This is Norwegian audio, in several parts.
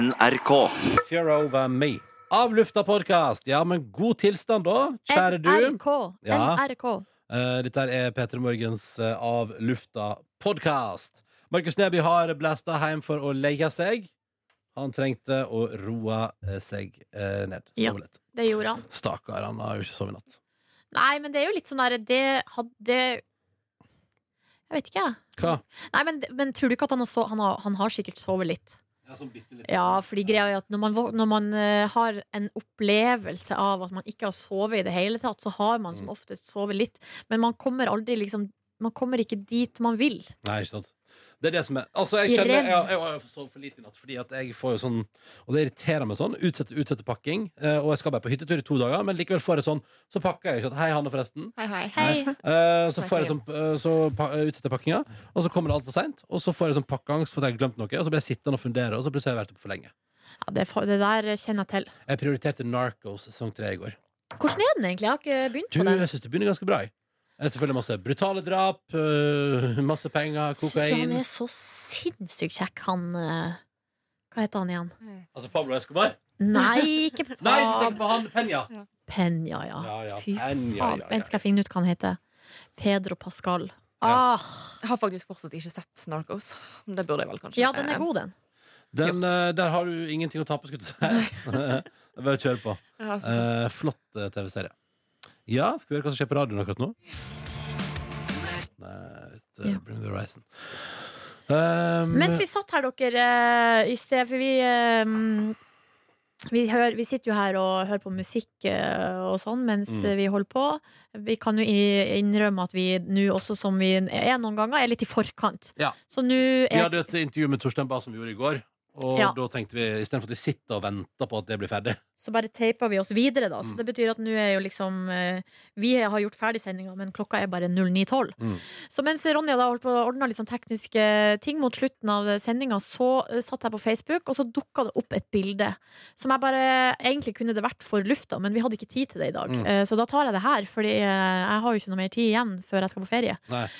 NRK. Fear over me. Avlufta podkast. Ja, men god tilstand, da, kjære du. NRK. Ja. NRK. Eh, dette her er P3 Morgens eh, Avlufta podkast. Markus Neby har blæsta hjem for å legge seg. Han trengte å roe eh, seg eh, ned. Ja. Sove litt. Det gjorde han. Stakkar, han har jo ikke sovet i natt. Nei, men det er jo litt sånn derre Det hadde Jeg vet ikke, jeg. Hva? Nei, men, men tror du ikke at han har, so han har, han har sikkert sovet litt? Ja, sånn bitte litt. Ja, fordi greia er at når man, våk- når man eh, har en opplevelse av at man ikke har sovet i det hele tatt, så har man som Mm. oftest sovet litt. Men man kommer aldri liksom Man kommer ikke dit man vil. Nei, ikke sant. Det er det som er Altså, jeg I kjenner rev. Jeg, jeg, jeg, har sovet for lite i natt, fordi at jeg får jo sånn Og det irriterer meg sånn. Utsette, utsette pakking. eh, Og jeg skal bare på hyttetur i to dager, men likevel får jeg sånn. Så pakker jeg ikke. Hei, Hanne, forresten. Hei, hei. Hei! Eh, så får jeg sånn, eh, så pa- eh, utsetter jeg pakkinga, og så kommer det altfor seint. Og så får jeg sånn pakkeangst for at jeg har glemt noe, og så blir jeg sittende og fundere, og så plutselig har jeg vært oppe for lenge. Ja, det, fa- det der kjenner jeg til. Jeg prioriterte Narcos sesong tre i går. Hvordan er den egentlig? Jeg har ikke begynt Du, på den. jeg syns det begynner ganske bra. jeg. Det er selvfølgelig masse brutale drap, eh, masse penger, Syns jeg han kokain er så sinnssykt kjekk, han eh, Hva heter han igjen? Altså Pablo Escobar? Nei, ikke Nei, du tenker Pab på han Penya! Penya, ja. Ja, ja, Fy faen. Penya, ja, ja, ja. Men skal jeg finne ut hva han heter? Pedro Pascal. Ja. Ah, Jeg har faktisk fortsatt ikke sett Narcos. Det burde jeg vel kanskje. ja, den er god, den. Den, Gjort. eh, der har du ingenting å tape, skulle du si. Bare kjør på. Ja, altså, Eh, flott eh, TV-serie. Ja, skal vi høre hva som skjer på radioen akkurat nå? Nei, et, eh, Ja. Bring me the horizon. Um, Mens vi satt her, dere, eh, i sted, for vi eh, mm, vi, hør, vi sitter jo her og hører på musikk eh, og sånn mens Mm. eh, vi holder på. Vi kan jo i- innrømme at vi nå også, som vi er noen ganger, er litt i forkant. Ja. Så nå vi er hadde jo et intervju med Torstein Bae som vi gjorde i går. Og Ja. da tenkte vi istedenfor at vi sitter og venter på at det blir ferdig Så bare teipa vi oss videre, da. Så Mm. det betyr at nå er jo liksom eh, Vi har gjort ferdig sendinga, men klokka er bare 09.12. Mm. Så mens Ronja da holdt på å ordne litt sånn tekniske ting mot slutten av sendinga, så eh, satt jeg på Facebook, og så dukka det opp et bilde som jeg bare Egentlig kunne det vært for lufta, men vi hadde ikke tid til det i dag. Mm. Eh, Så da tar jeg det her, fordi eh, jeg har jo ikke noe mer tid igjen før jeg skal på ferie. Nei.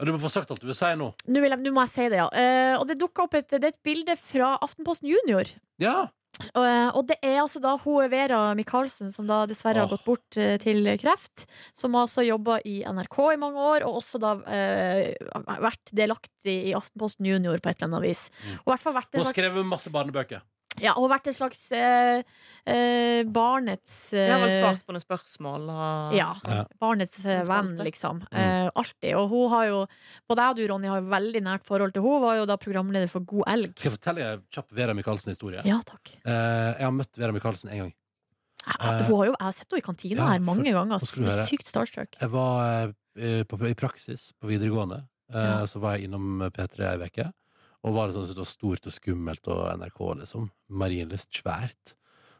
Og Du må få sagt alt du vil si nå. Nå, vil jeg, nå må jeg si det, ja. Eh, Og det dukka opp et, det er et bilde fra Aftenposten Junior. Ja, Og, og det er altså da hun Vera Michaelsen, som da dessverre har Åh. gått bort eh, til kreft, som har også jobba i NRK i mange år, og også da eh, vært delaktig i Aftenposten Junior på et eller annet vis. Mm. Og i hvert fall vært Hun en har slags, skrevet masse barnebøker. ja, og vært en slags eh, eh, barnets eh, jeg har vel svart på noen spørsmål. Og... ja, Ja. barnets eh, En venn, spalte. liksom. Mm. Eh, alltid. Og hun har jo, både jeg og du, Ronny, har jo veldig nært forhold til henne. Hun var jo da programleder for God elg. Skal jeg fortelle deg en kjapp Vera Michaelsen-historie? Ja, takk. Eh, jeg har møtt Vera Michaelsen en gang. Jeg, Eh, hun har jo, jeg har sett henne i kantina ja, her mange for- ganger. nå skal du høre. Sykt starstruck. Jeg var eh, på, i praksis på videregående. Eh, Ja. Så var jeg innom P3 ei uke. Og var det sånn at det var stort og skummelt og NRK, liksom. Marienlyst. Svært.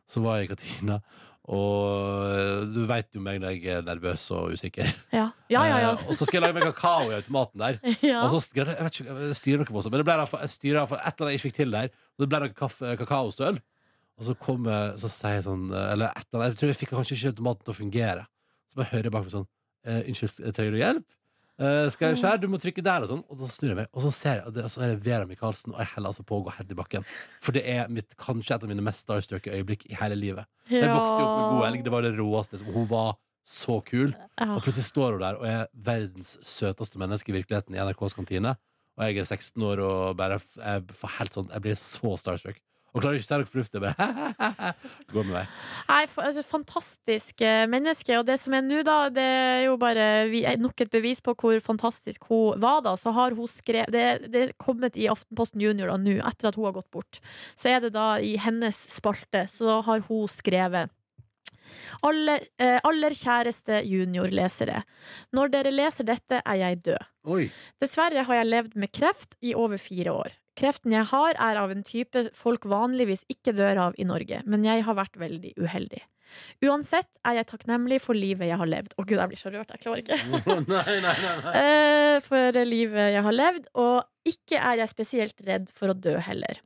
Så var jeg i kantina, og eh, du veit jo meg når jeg er nervøs og usikker. Ja, ja, ja. ja. Eh, og så skal jeg lage meg kakao i automaten der. Ja. Eh, Og så greide jeg- jeg vet ikke, jeg styrer noe på også, men det ble derfor, jeg styrer derfor et eller annet jeg ikke fikk til der. Og det ble noe kaffe, kakaostøl. Og så kom jeg, så sier jeg sånn eh, Eller et eller annet, jeg tror jeg fikk kanskje ikke automaten til å fungere. Så bare hører jeg bak meg sånn eh, Unnskyld, trenger du hjelp? Eh, skal jeg skjære? Du må trykke der og sånn. Og så snur jeg meg, og så ser jeg og det, og så er det Vera Michaelsen, og jeg heller altså på å gå helt i bakken. For det er mitt, kanskje et av mine mest starstruck øyeblikk i hele livet. Jeg vokste jo opp med god elg, det var det råeste. liksom. Hun var så kul. Ja. Og plutselig står hun der og er verdens søteste menneske i virkeligheten i NRKs kantine. Og jeg er 16 år og bare f- jeg, får helt sånn, jeg blir så starstruck. Og klarer ikke å si noe fornuftig. jeg Bare går med meg. Nei, fa- altså, fantastisk eh, menneske. Og det som er nå, da, det er jo bare vi, er nok et bevis på hvor fantastisk hun var, da. Så har hun skrevet Det, det er kommet i Aftenposten Junior da nå, etter at hun har gått bort. Så er det da i hennes spalte, så har hun skrevet Aller, eh, aller kjæreste juniorlesere. Når dere leser dette, er jeg død. Oi. Dessverre har jeg levd med kreft i over fire år. Kreften jeg har, er av en type folk vanligvis ikke dør av i Norge, men jeg har vært veldig uheldig. Uansett er jeg takknemlig for livet jeg har levd. Å gud, jeg blir så rørt, jeg klarer ikke. nei, nei, nei, nei. Eh, For det livet jeg har levd, og ikke er jeg spesielt redd for å dø heller.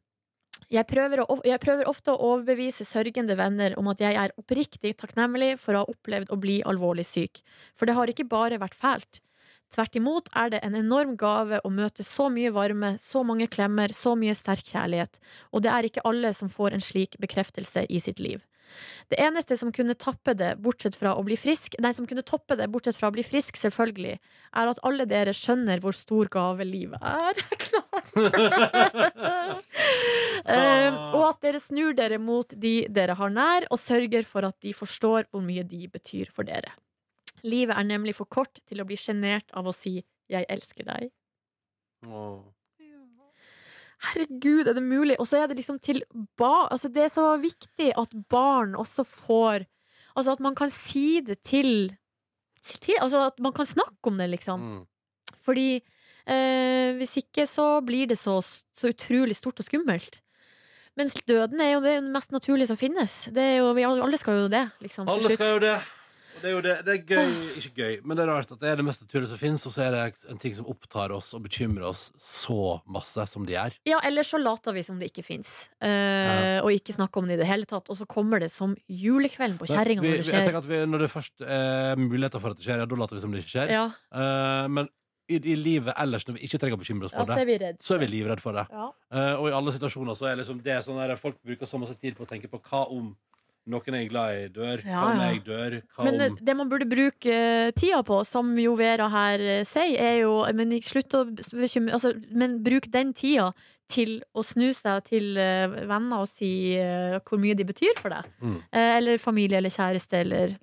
Jeg prøver, å, jeg prøver ofte å overbevise sørgende venner om at jeg er oppriktig takknemlig for å ha opplevd å bli alvorlig syk, for det har ikke bare vært fælt. Tvert imot er det en enorm gave å møte så mye varme, så mange klemmer, så mye sterk kjærlighet, og det er ikke alle som får en slik bekreftelse i sitt liv. Det eneste som kunne tappe det, bortsett fra å bli frisk Nei, som kunne toppe det, bortsett fra å bli frisk, selvfølgelig, er at alle dere skjønner hvor stor gave livet er. Klart! Eh, og at dere snur dere mot de dere har nær, og sørger for at de forstår hvor mye de betyr for dere. Livet er nemlig for kort til å bli sjenert av å si 'jeg elsker deg'. Åh. Herregud, er det mulig? Og så er det liksom til ba altså, Det er så viktig at barn også får Altså at man kan si det til, til Altså at man kan snakke om det, liksom. Mm. Fordi eh, hvis ikke så blir det så, så utrolig stort og skummelt. Mens døden er jo det mest naturlige som finnes. Det er jo, vi alle, alle skal jo det. Liksom, til Alle slutt. skal jo det. Og det er jo det. Det er gøy. Ikke gøy, men det er rart at det er det mest naturlige som fins, og så er det en ting som opptar oss og bekymrer oss så masse som de er. Ja, Eller så later vi som det ikke fins, eh, og ikke snakker om det i det hele tatt. Og så kommer det som julekvelden på Men kjerringa vi- når det vi- jeg skjer. tenker at vi, Når det først er muligheter for at det skjer, ja, da later vi som det ikke skjer. Ja, Eh, men i, i livet ellers, når vi ikke trenger å bekymre oss for ja, så det, er vi redde. så er vi livredde for det. Ja. Eh, og i alle situasjoner så er liksom det sånn der folk bruker så masse tid på å tenke på hva om noen jeg er glad i, dør, hva Ja, om ja. jeg dør, hva Men eh, om det man burde bruke eh, tida på, som jo Vera her eh, sier, er jo Men ikke slutt å bekymre altså, Men bruk den tida til å snu seg til eh, venner og si eh, hvor mye de betyr for deg. Mm. Eh, Eller familie eller kjæreste eller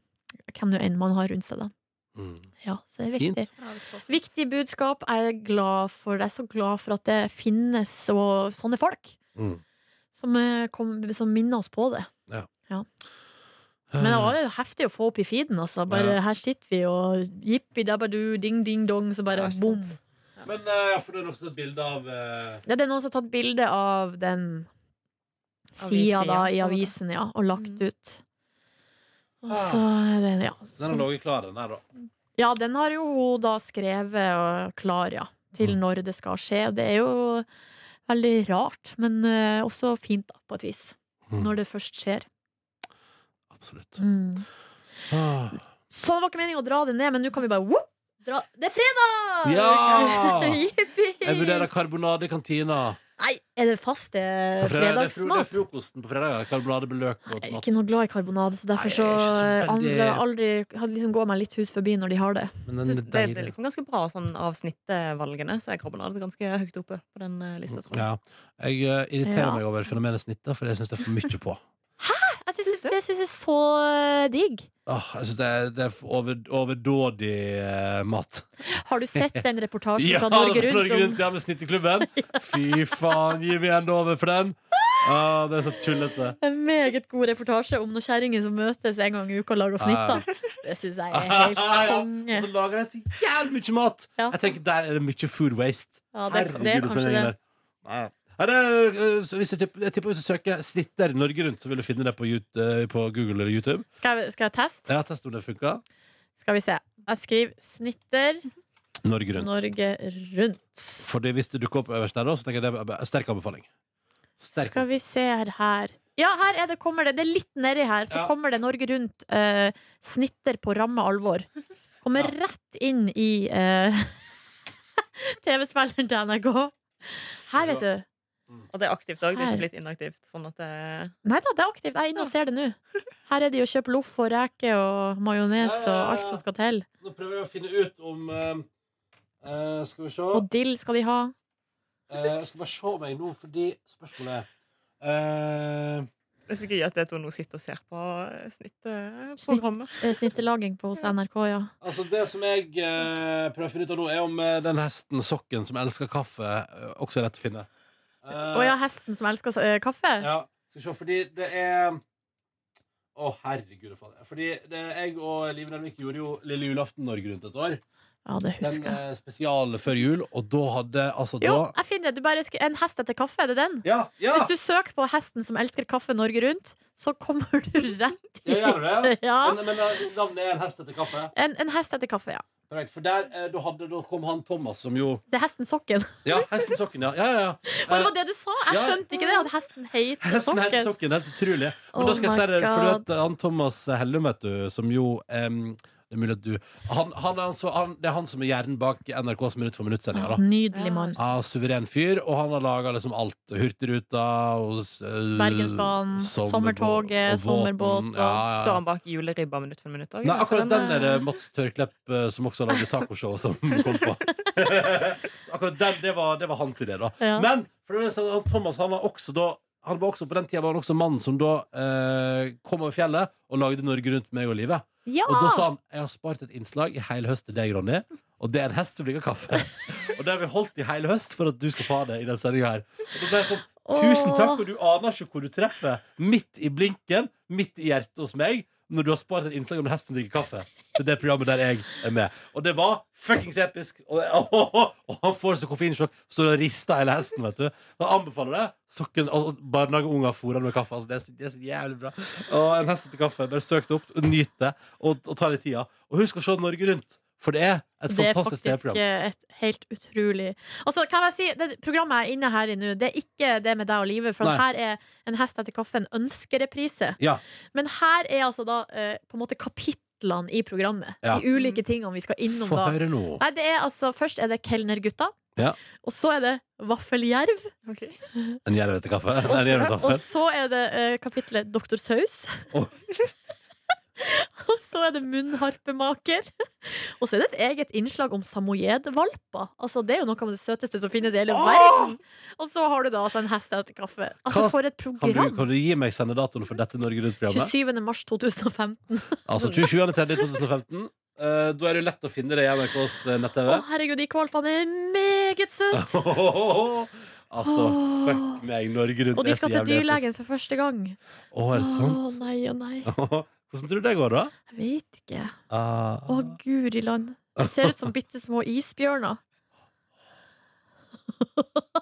hvem nå enn man har rundt seg, da. mm. Ja, så det er Fint. viktig. Ja, det er så fint. Viktig budskap. Jeg er glad for Jeg er så glad for at det finnes og sånne folk Mm. som, eh, kom, som minner oss på det. Men Eh. det var jo heftig å få opp i feeden, altså. Bare Ja. her sitter vi og jippi dabbadu, ding ding dong, så bare Ja, ikke bom. sant. Men eh, for det er også et bilde av eh, Ja, det er noen som har tatt bilde av den sida Avissida, da i på en måte. Ah. avisen, ja, og lagt Mhm. ut. Og så er det, ja. Den har sånn. ligget klar, den der, da. ja, den har jo hun da skrevet og klar, ja, til Mm. Mhm. når det skal skje. Det er jo veldig rart, men eh, også fint, da, på et vis. Mm. Mhm. Når det først skjer. Mm. Absolutt. Ah. Så det var ikke meningen å dra det ned, men nå kan vi bare whoop, dra. Det er fredag! Ja! Jippi! Jeg vurderer karbonade i kantina. Nei, er det faste På fredag- det er fro- Eh, fredagsmat? Det er frokosten på fredag. Karbonade med løk og Jeg er tomat. ikke noe glad i karbonade, så derfor Nei, så jeg er ikke så an- veldig- det har aldri hadde liksom går meg litt hus forbi når de har det. Men den Jeg er synes Det er deilig. liksom ganske bra sånn, av snittvalgene, så er karbonade ganske høyt oppe på den eh, lista. Tror jeg. Ja. Jeg eh, irriterer Ja. meg over fenomenet snitter, for jeg syns det er for mye på. Jeg Syns synes, du? det syns jeg er så eh, digg. Åh, jeg synes det er, det er for over, overdådig eh, mat. Har du sett den reportasjen fra Norge Rundt? Norge om- Rundt ja, med snitteklubben. Fy faen, gi meg en dover for den! Åh, det er så tullete. En meget god reportasje om noen kjerringer som møtes en gang i uka og lager Ja. snitter. Det syns jeg er helt Ja, ja. konge. Og så lager de så jævlig mye mat! Ja. Jeg tenker Der er det mye food waste. Ja, det, det er Herregud, kanskje hvordan er det. Nei. Nei, det er, øh, så hvis jeg, tipp- jeg tipper hvis du søker 'snitter Norge rundt', så vil du finne det på, Yout- øh, på Google eller YouTube. Skal jeg, skal jeg teste? Jeg har testet om det funka. Skal vi se. Jeg skriver 'snitter Norge rundt. Norge rundt'. Fordi hvis det dukker opp øverst der, da, så tenker jeg det er en sterk anbefaling. Sterk. Skal vi se her, her. Ja, her er det, kommer det. Det er litt nedi her. Så Ja. kommer det Norge Rundt eh, snitter på ramme alvor. Kommer Ja. rett inn i eh, TV-spilleren til NRK. Her, vet du. Og det er aktivt òg, det er Her. ikke blitt inaktivt. Sånn at det Nei da, det er aktivt. Jeg er inne og ser det nå. Her er de og kjøper loff og reker og majones Ja, og ja, ja, alt ja. som skal til. Nå prøver jeg å finne ut om eh, eh, Skal vi se Og dill skal de ha. Eh, Jeg skal bare se om jeg nå, fordi spørsmålet er eh, Det er så gøy at dere to nå sitter og ser på eh, snittprogrammet. Eh, Snittelaging på hos NRK, ja. Altså Det som jeg eh, prøver å finne ut av nå, er om eh, den hesten, sokken, som elsker kaffe, eh, også er lett å finne. Eh, Å ja, hesten som elsker eh, kaffe? Ja, skal vi se, fordi det er Å, herregud og fader. Fordi det, jeg og Liv Nelvik gjorde jo lille julaften Norge rundt et år. Ja, det Den husker jeg. eh, spesiale før jul, og da hadde altså Jo, da jeg finner det. Du bare sk en hest etter kaffe, er det den? Ja! ja Hvis du søker på hesten som elsker kaffe Norge rundt, så kommer du rett Ja, gjør du hit. Ja. Men, men eh, navnet er En hest etter kaffe. En, en hest etter kaffe, ja. Korrekt, For der eh, da, hadde, da kom han Thomas, som jo Det er hesten Sokken. Ja, hesten Sokken, ja. ja, ja, ja. Og det Eh, var det du sa! Jeg ja. skjønte ikke det, at hesten heter Hesten helt i Sokken. sokken, helt utrolig. Men Oh da skal jeg my si det, for du God. vet han Thomas Hellum, vet du, som jo em, Det er mulig at du han, han, er altså- han, Det er han som er hjernen bak NRKs Minutt for minutt-sendinga. Nydelig mann. Ja, suveren fyr, og han har laga liksom alt. Hurtigruta og s- øh, Bergensbanen, sommerbå- sommertoget, og båten. sommerbåt og- ja, ja. Står han bak juleribba minutt for eh, minutt òg? Nei, akkurat den er det Mats Tørklepp eh, som også lagde tacoshow, som kom på. akkurat den, det var, det var hans idé, da. Ja. Men for det er sånn at Thomas han har også da han var også På den tida var han også mannen som da eh, kom over fjellet og lagde Norge Rundt med meg og livet. Ja! Og da sa han jeg har spart et innslag i hele høst til deg, Ronny. Og det er en hest som liker kaffe. og det har vi holdt i hele høst for at du skal få ha det i den sendinga her. Og da ble jeg sånn, Tusen takk, og du aner ikke hvor du treffer. Midt i blinken, midt i hjertet hos meg, når du har spart et innslag om en hest som drikker kaffe. Til det programmet der jeg er med. Og det var fuckings episk. Og, og han får så koffeinsjokk, står og rister hele hesten, vet du. Og jeg anbefaler det. Sokken og og barnehageunger fôrer han med kaffe. Altså, det, er så, det er så jævlig bra. Og en hest til kaffe. Bare søk det opp, og nyt det, og, og ta det i tida. Og husk å se Norge Rundt, for det er et Det er fantastisk faktisk TV-program. eh, et helt utrolig Altså, kan jeg si, det programmet jeg er inne her i nå, det er ikke det med deg og livet, for Nei. her er En hest etter kaffe en ønskereprise. Ja. Men her er altså da eh, på en måte kapitlene i programmet. Ja. De ulike tingene vi skal innom Få da. høre nå. Nei, det er altså, Først er det kelnergutta. Ja. Og så er det vaffeljerv. En jerv etter kaffe. Nei, Og en jerv etter så, og kaffe. så er det eh, kapitlet Doktor Saus. Åh. og så er det munnharpemaker. Og så er det et eget innslag om samojedvalper. Altså, det er jo noe av det søteste som finnes i hele Åh! verden. Og så har du da altså en hest etter kaffe. Altså, Hva- for et Kan du, program! kan du gi meg sendedatoen for dette Norge Rundt-programmet? 27. mars 2015. Altså 27.3.2015. Eh, da er det jo lett å finne det i NRKs Å, nett-TV. herregud, de valpene er meget Ah, søte! altså, Åh. fuck meg. Norge Og Rundt de er så skal jævlig til episk. dyrlegen for første gang. Å, er det Å sant? Ah. nei, å nei. Hvordan tror du det går, da? Jeg vet ikke. Ah. Å, guri land. Det ser ut som bitte små isbjørner.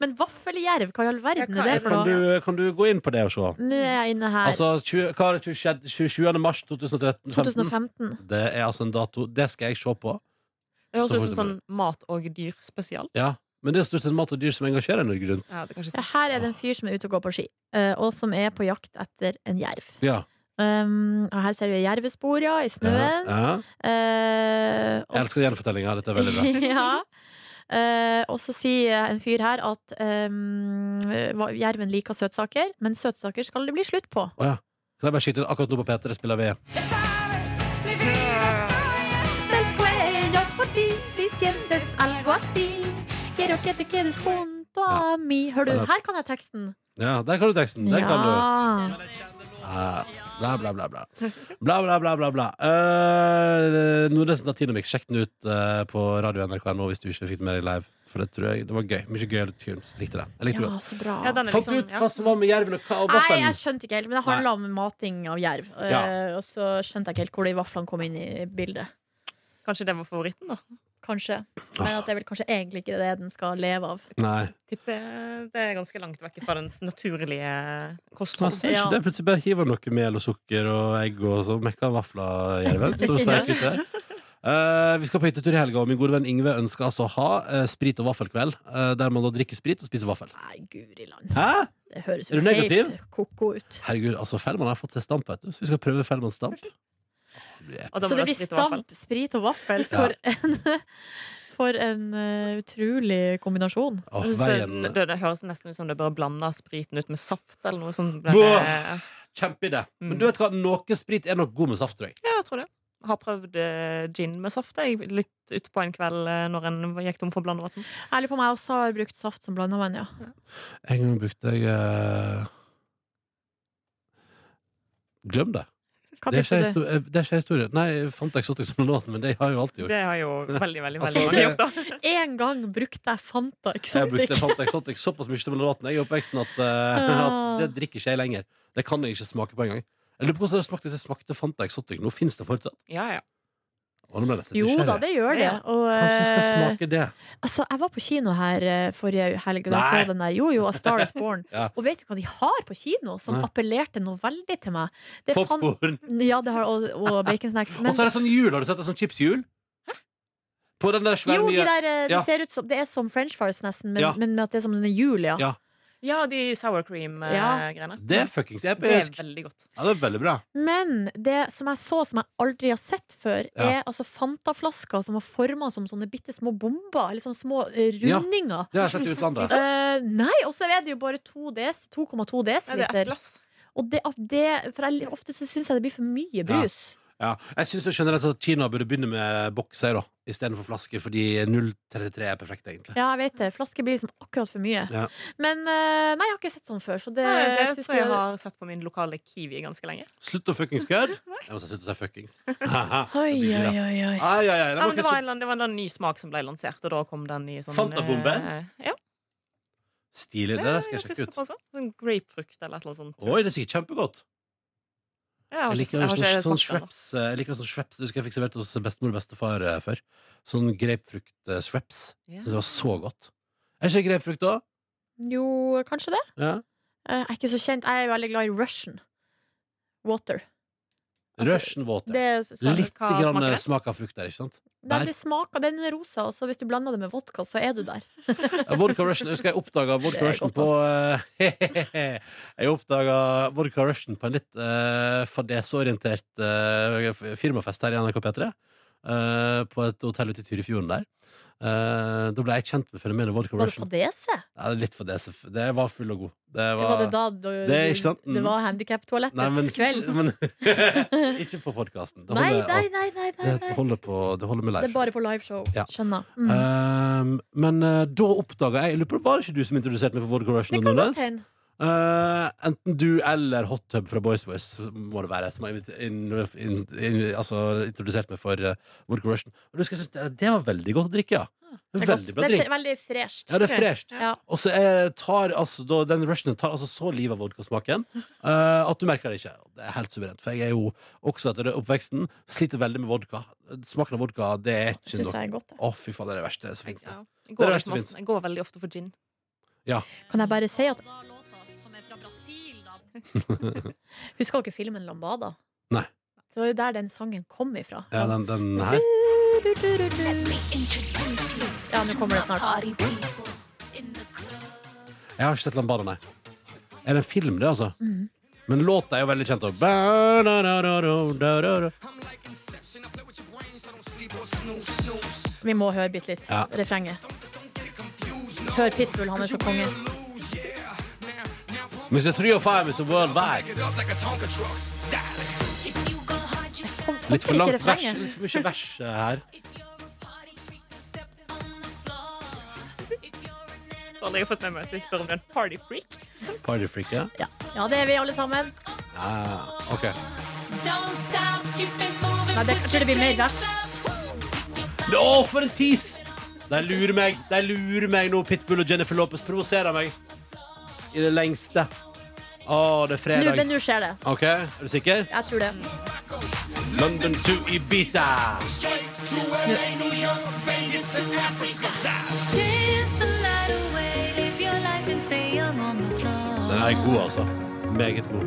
Men vaffeljerv, hva i all verden Ja, hva er det er det? for kan, noe? du, kan du gå inn på det og se? Nå er jeg inne her. Altså, 20, hva er det 27. 27. mars 2013? 2015. 2015. Det er altså en dato Det skal jeg se på. Det høres Så ut som fort sånn mat og dyr spesial. Ja. Men det er stort sett mat og dyr som engasjerer Norge Rundt. Ja, det kan ikke Ja, si. Her er det en fyr som er ute og går på ski, eh, og som er på jakt etter en jerv. Ja. Um, og her ser vi jervespor, ja, i Ja. snøen. Ja. Eh, og Jeg elsker gjenfortellinga. Dette er veldig bra. ja. Eh, og så sier en fyr her at ehm, hva- jerven liker søtsaker, men søtsaker skal det bli slutt på. Å ja. Kan jeg bare skyte inn akkurat nå på P3 spiller vi Del cuello por ti si sientes algo así. Quiero que te quedes junto a mí. Hør du, her kan jeg teksten. Ja, der kan du teksten. Den kan du. Ja. Ja, Bla, bla, bla, bla. Bla, bla, bla, bla, bla. Uh, Nordnesen Latinomix, sjekk den ut eh, på radio NRK nå hvis du ikke fikk det med deg live. For det tror jeg det var gøy. Mye gøyere tunes. Likte det. Jeg likte det ja, godt. så bra. Ja, den er Fant du liksom, ut ja. hva som var med jerven og hva- og Nei, jeg vaffelen? skjønte ikke helt, men det handla om mating av jerv. Eh, Ja. Og så skjønte jeg ikke helt hvor de vaflene kom inn i bildet. Kanskje det var favoritten, da. Kanskje. Men at det er vel kanskje egentlig ikke det den skal leve av. Nei. Tipper det er ganske langt vekk fra dens naturlige Man kosthold. ser ikke Ja. det. Plutselig bare hiver han noe mel og sukker og egg og så mekka vafler jerven. Så sterk ut der. Eh, vi skal på hyttetur i helga, og min gode venn Ingve ønsker altså å ha eh, sprit og vaffelkveld. eh, der man da drikker sprit og spiser vaffel. Nei, guri land. Hæ? Det høres Er jo du negativ? helt ko-ko ut. Herregud, altså Fellman har fått seg stamp, vet du. Så vi skal prøve Fellmans stamp. Det blir episk. Og da Så må det det blir sprite i hvert fall. stamp, sprit og vaffel for en, for en eh, utrolig kombinasjon. Åh, Så veien Altså, det, det høres nesten ut som det bør blande spriten ut med saft eller noe sånt. Den, Bå! eh, Kjempeidé. Men Mm. du vet hva, noe sprit er nok god med saft, tror jeg. Ja, jeg tror det. Har prøvd eh, gin med saft jeg, litt utpå en kveld eh, når en gikk tom for blandevann. Jeg lurer på om jeg også har brukt saft som blandevann, ja. En gang brukte jeg eh, Glem det. Hva Det er, ikke brukte du? histori- eh, det er ikke historie. Nei, jeg fant Exotic som en låt, men det har jeg jo alltid gjort. Det har jeg jo veldig, veldig Altså, veldig det- mange gjort, da. En gang brukte jeg Fanta Jeg brukte Exotic. fant Exotic såpass mye som en låt når jeg er i oppveksten at, eh, Ah. at det drikker ikke jeg lenger. Det kan jeg ikke smake på engang. Jeg lurer på hvordan det smakte hvis jeg smakte Fanta Exotic. Nå fins det fortsatt. Ja, ja. Og nå ble jeg nesten Jo nysgjerrig. da, det gjør det. Ja. Og, Kanskje jeg skal eh, smake det. altså, jeg var på kino her eh, forrige helg, og jeg Nei. så den der. Jo, jo, A Star Is Born. Ja. Og vet du hva de har på kino som Nei. appellerte noe veldig til meg? Det er fan- Popkorn. Ja, det har, og, og baconsnacks. Og så er det sånn hjul. Har du sett det? Sånn chipshjul? På den der svære Jo, de nye der, eh, det Ja. ser ut som Det er som french fries nesten, men, Ja. men med at det er som en jul, ja. Ja. Ja, de sour cream-greiene. Det er fuckings det er episk! veldig godt. Ja, det er veldig bra. Men det som jeg så som jeg aldri har sett før, er altså Fanta-flasker som var forma som sånne bitte små bomber. Eller sånne små eh, Ja. rundinger. Det har jeg sett i utlandet. Eh, nei, og så er det jo bare 2 des- 2,2 Ja, det er ett desiliter. glass. Og det, at det, for jeg, ofte så syns jeg det blir for mye brus. Ja. Jeg syns generelt at Kina burde begynne med bokser da, istedenfor flasker, fordi 033 er perfekt, egentlig. Ja, jeg vet det. Flasker blir liksom akkurat for mye. Ja. Men eh, nei, jeg har ikke sett sånn før, så det, Nei, det synes tror jeg jeg- har sett på min lokale Kiwi ganske lenge. Slutt å fuckings kødde! Jeg må si slutt å si fuckings. Oi, Det blir oi, bra. oi, oi. Ai, ai, ai. Det Ja, var ikke men det, var en, så eller annen- det var en eller annen ny smak som ble lansert, og da kom den i sånn Fantabomben? eh, Ja, stilig. det Det der skal jeg sjekke ut. Sånn grapefrukt eller et eller annet sånt. Oi, det er sikkert kjempegodt. Ja, Jeg ikke- liker har sånn, sånn ikke smakt det ennå. shreps eh, Jeg liker sånn shreps Det husker jeg fikk servert hos bestemor og bestefar eh, før. Sånn grapefrukt-shreps. Ja. Syns det var så godt. Er ikke grapefrukt òg? Jo, kanskje det. Ja. Eh, jeg er ikke så kjent. Jeg er jo veldig glad i Russian water. Altså, Russian water. Det, er sånn- Litt Hva grann smaker eh, det? smak av frukt der, ikke sant? Nei, det smaker, den er rosa, og så hvis du blander det med vodka, så er du der. Ja, Vodka Russian, jeg husker jeg oppdaga Det Vodka er Russian godt, på eh, Jeg oppdaga Vodka Russian på en litt uh, fadesorientert eh, f- firmafest her i NRK P3. eh, på et hotell ute i Tyrifjorden der. Eh, da ble jeg kjent med fenomenet Vodka Var det Russian. fadese? Ja, det er litt fadese. Det var full og god. Det Var, var, det da du, Det er ikke sant. Mm. det var Nei, men, handikaptoalettets kveld? men Ikke på podkasten. Det, Nei, holder- nei, nei, nei, nei, det nei. holder på Det holder med Det er live. bare på liveshow. Ja. Skjønner. Mm. Um, men eh, da oppdaga jeg, jeg lurer på, Var det ikke du som introduserte meg for Vodka Russian? det og kan Nordnes? godt hende. Eh, enten du eller Hot Tub fra Boys Voice må det være, som har invit- inn- inn- inn- altså, introdusert meg for uh, Vodka Russian. Og du skal synes, det, det var veldig godt å drikke, ja. Ah, Veldig Det er godt. bra Det er drink. fe- veldig fresht. Ja, det er fresht. Ja. Og så eh, tar altså, da, den Russianen tar altså så livet av vodkasmaken eh, at du merker det ikke. Det er helt suverent. For jeg er jo også etter det oppveksten sliter veldig med vodka. Smaken av vodka, det er ikke Det nok. syns jeg er godt. det. Å, fy faen, det er det verste som finnes. det. Ja. Jeg Det er går, det verste liksom som finnes. ofte, jeg går veldig ofte for gin. Kan jeg bare si at Husker dere filmen Lambada? Nei. Det var jo der den sangen kom ifra. Ja, den, den her. Ja, nå kommer det snart. Jeg har ikke sett Lambada, nei. Er det en film, det, altså? Mhm. Men låta er jo veldig kjent. Og... Ja, Vi må høre bitte litt. Ja. Refrenget. Hør Pitbull, han er så konge. Mr. 3 og 5 is a worldwide. Kom, Litt for ikke langt vers. refrenget. Litt for mye vers eh, her. Så alle jeg har fått med meg at jeg spør om du er en partyfreak. Partyfreak, ja. Ja. ja, det er vi alle sammen. Ah, ok. Nei, det, kanskje det blir mer vers. Å, for en tis! De lurer meg De lurer meg nå. Pitbull og Jennifer Lopez provoserer meg. I det lengste. Å, det er Nå, men fredag. nå skjer det. OK, er du sikker? Jeg tror det. London to Ibiza. Den er god, altså. Meget god.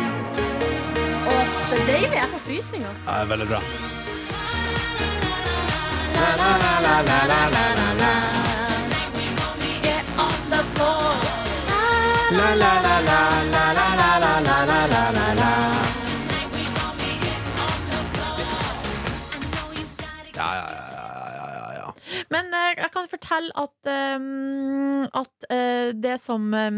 Å, det er deilig. Jeg får frysninger. Ja, det er veldig bra. Ja, ja, ja, ja, ja, ja. Men eh, jeg kan fortelle at, eh, at eh, det som, eh,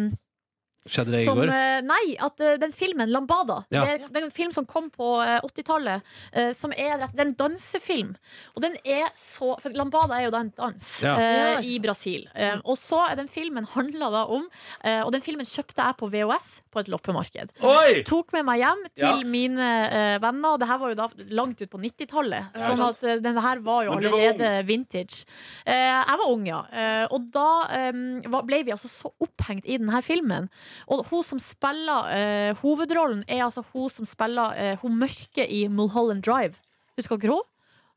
Skjedde det i som går? eh, Nei, at eh, den filmen, 'Lambada', Ja. det, er- det er en film som kom på eh, 80-tallet, eh, som er rett- det er en dansefilm. Og den er så For Lambada er jo da en dans Ja. eh, Ja, ikke i sant. Brasil. Eh, og så er den filmen handla da om eh, Og den filmen kjøpte jeg på VHS på et loppemarked. Oi! tok med meg hjem til Ja. mine eh, venner. Det her var jo da langt ut på 90-tallet, Ja, sånn sant. at eh, den her var jo Men du var allerede vintage. Eh, jeg var ung, ja. Eh, og da em, var- ble vi altså så opphengt i denne filmen. Og hun som spiller eh, hovedrollen, er altså hun som spiller eh, hun mørke i Mulholland Drive. Husker dere henne?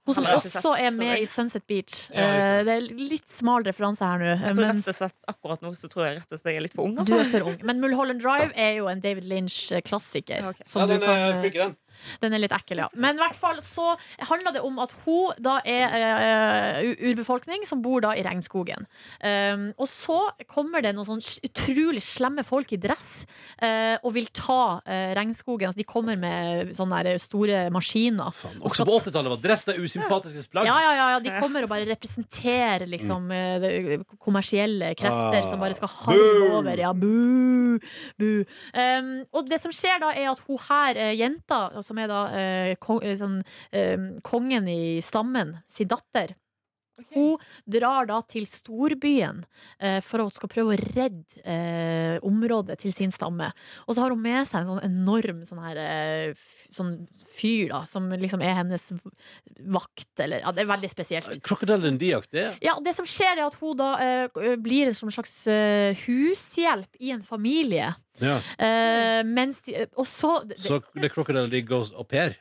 Hun som Har jeg ikke sett, også er tror med jeg. i Sunset Beach. Ja, riktig. Eh, det er litt smal referanse her nå. eh, Jeg tror men- rett og slett, akkurat nå så tror jeg rett og slett jeg er litt for ung. du Altså. er for ung. Men Mulholland Drive er jo en David Lynch-klassiker. eh, Ok. eh, Ja, den er freaky, den. Den er litt ekkel, ja. Men i hvert fall så handler det om at hun da er eh, u- urbefolkning som bor da i regnskogen. Um, og så kommer det noen sånn s- utrolig slemme folk i dress eh, og vil ta eh, regnskogen. Altså, de kommer med sånne der store maskiner. Faen. Også på 80-tallet var dress det usympatiske plagg. altså. Ja, ja, ja, ja, de kommer og bare representerer liksom eh, det kommersielle krefter Mm. Ah. som bare skal Boo! halve over. Ja, bu, bu. Um, og det som skjer da, er at hun her, eh, jenta, som er da eh, kong, eh, sånn, eh, kongen i stammen, sin datter, hun drar da til storbyen eh, for at hun skal prøve å redde eh, området til sin stamme. Og så har hun med seg en sånn enorm sånn her, eh, f- sånn fyr da, som liksom er hennes v- vakt. Eller, ja, det er veldig spesielt. Crocodile Dundee-aktig. Ja, og det som skjer er at hun da eh, blir en som en slags eh, hushjelp i en familie. Ja. Eh, Mm. mens de, og så, det, Så The Crocodile Dundee goes au pair.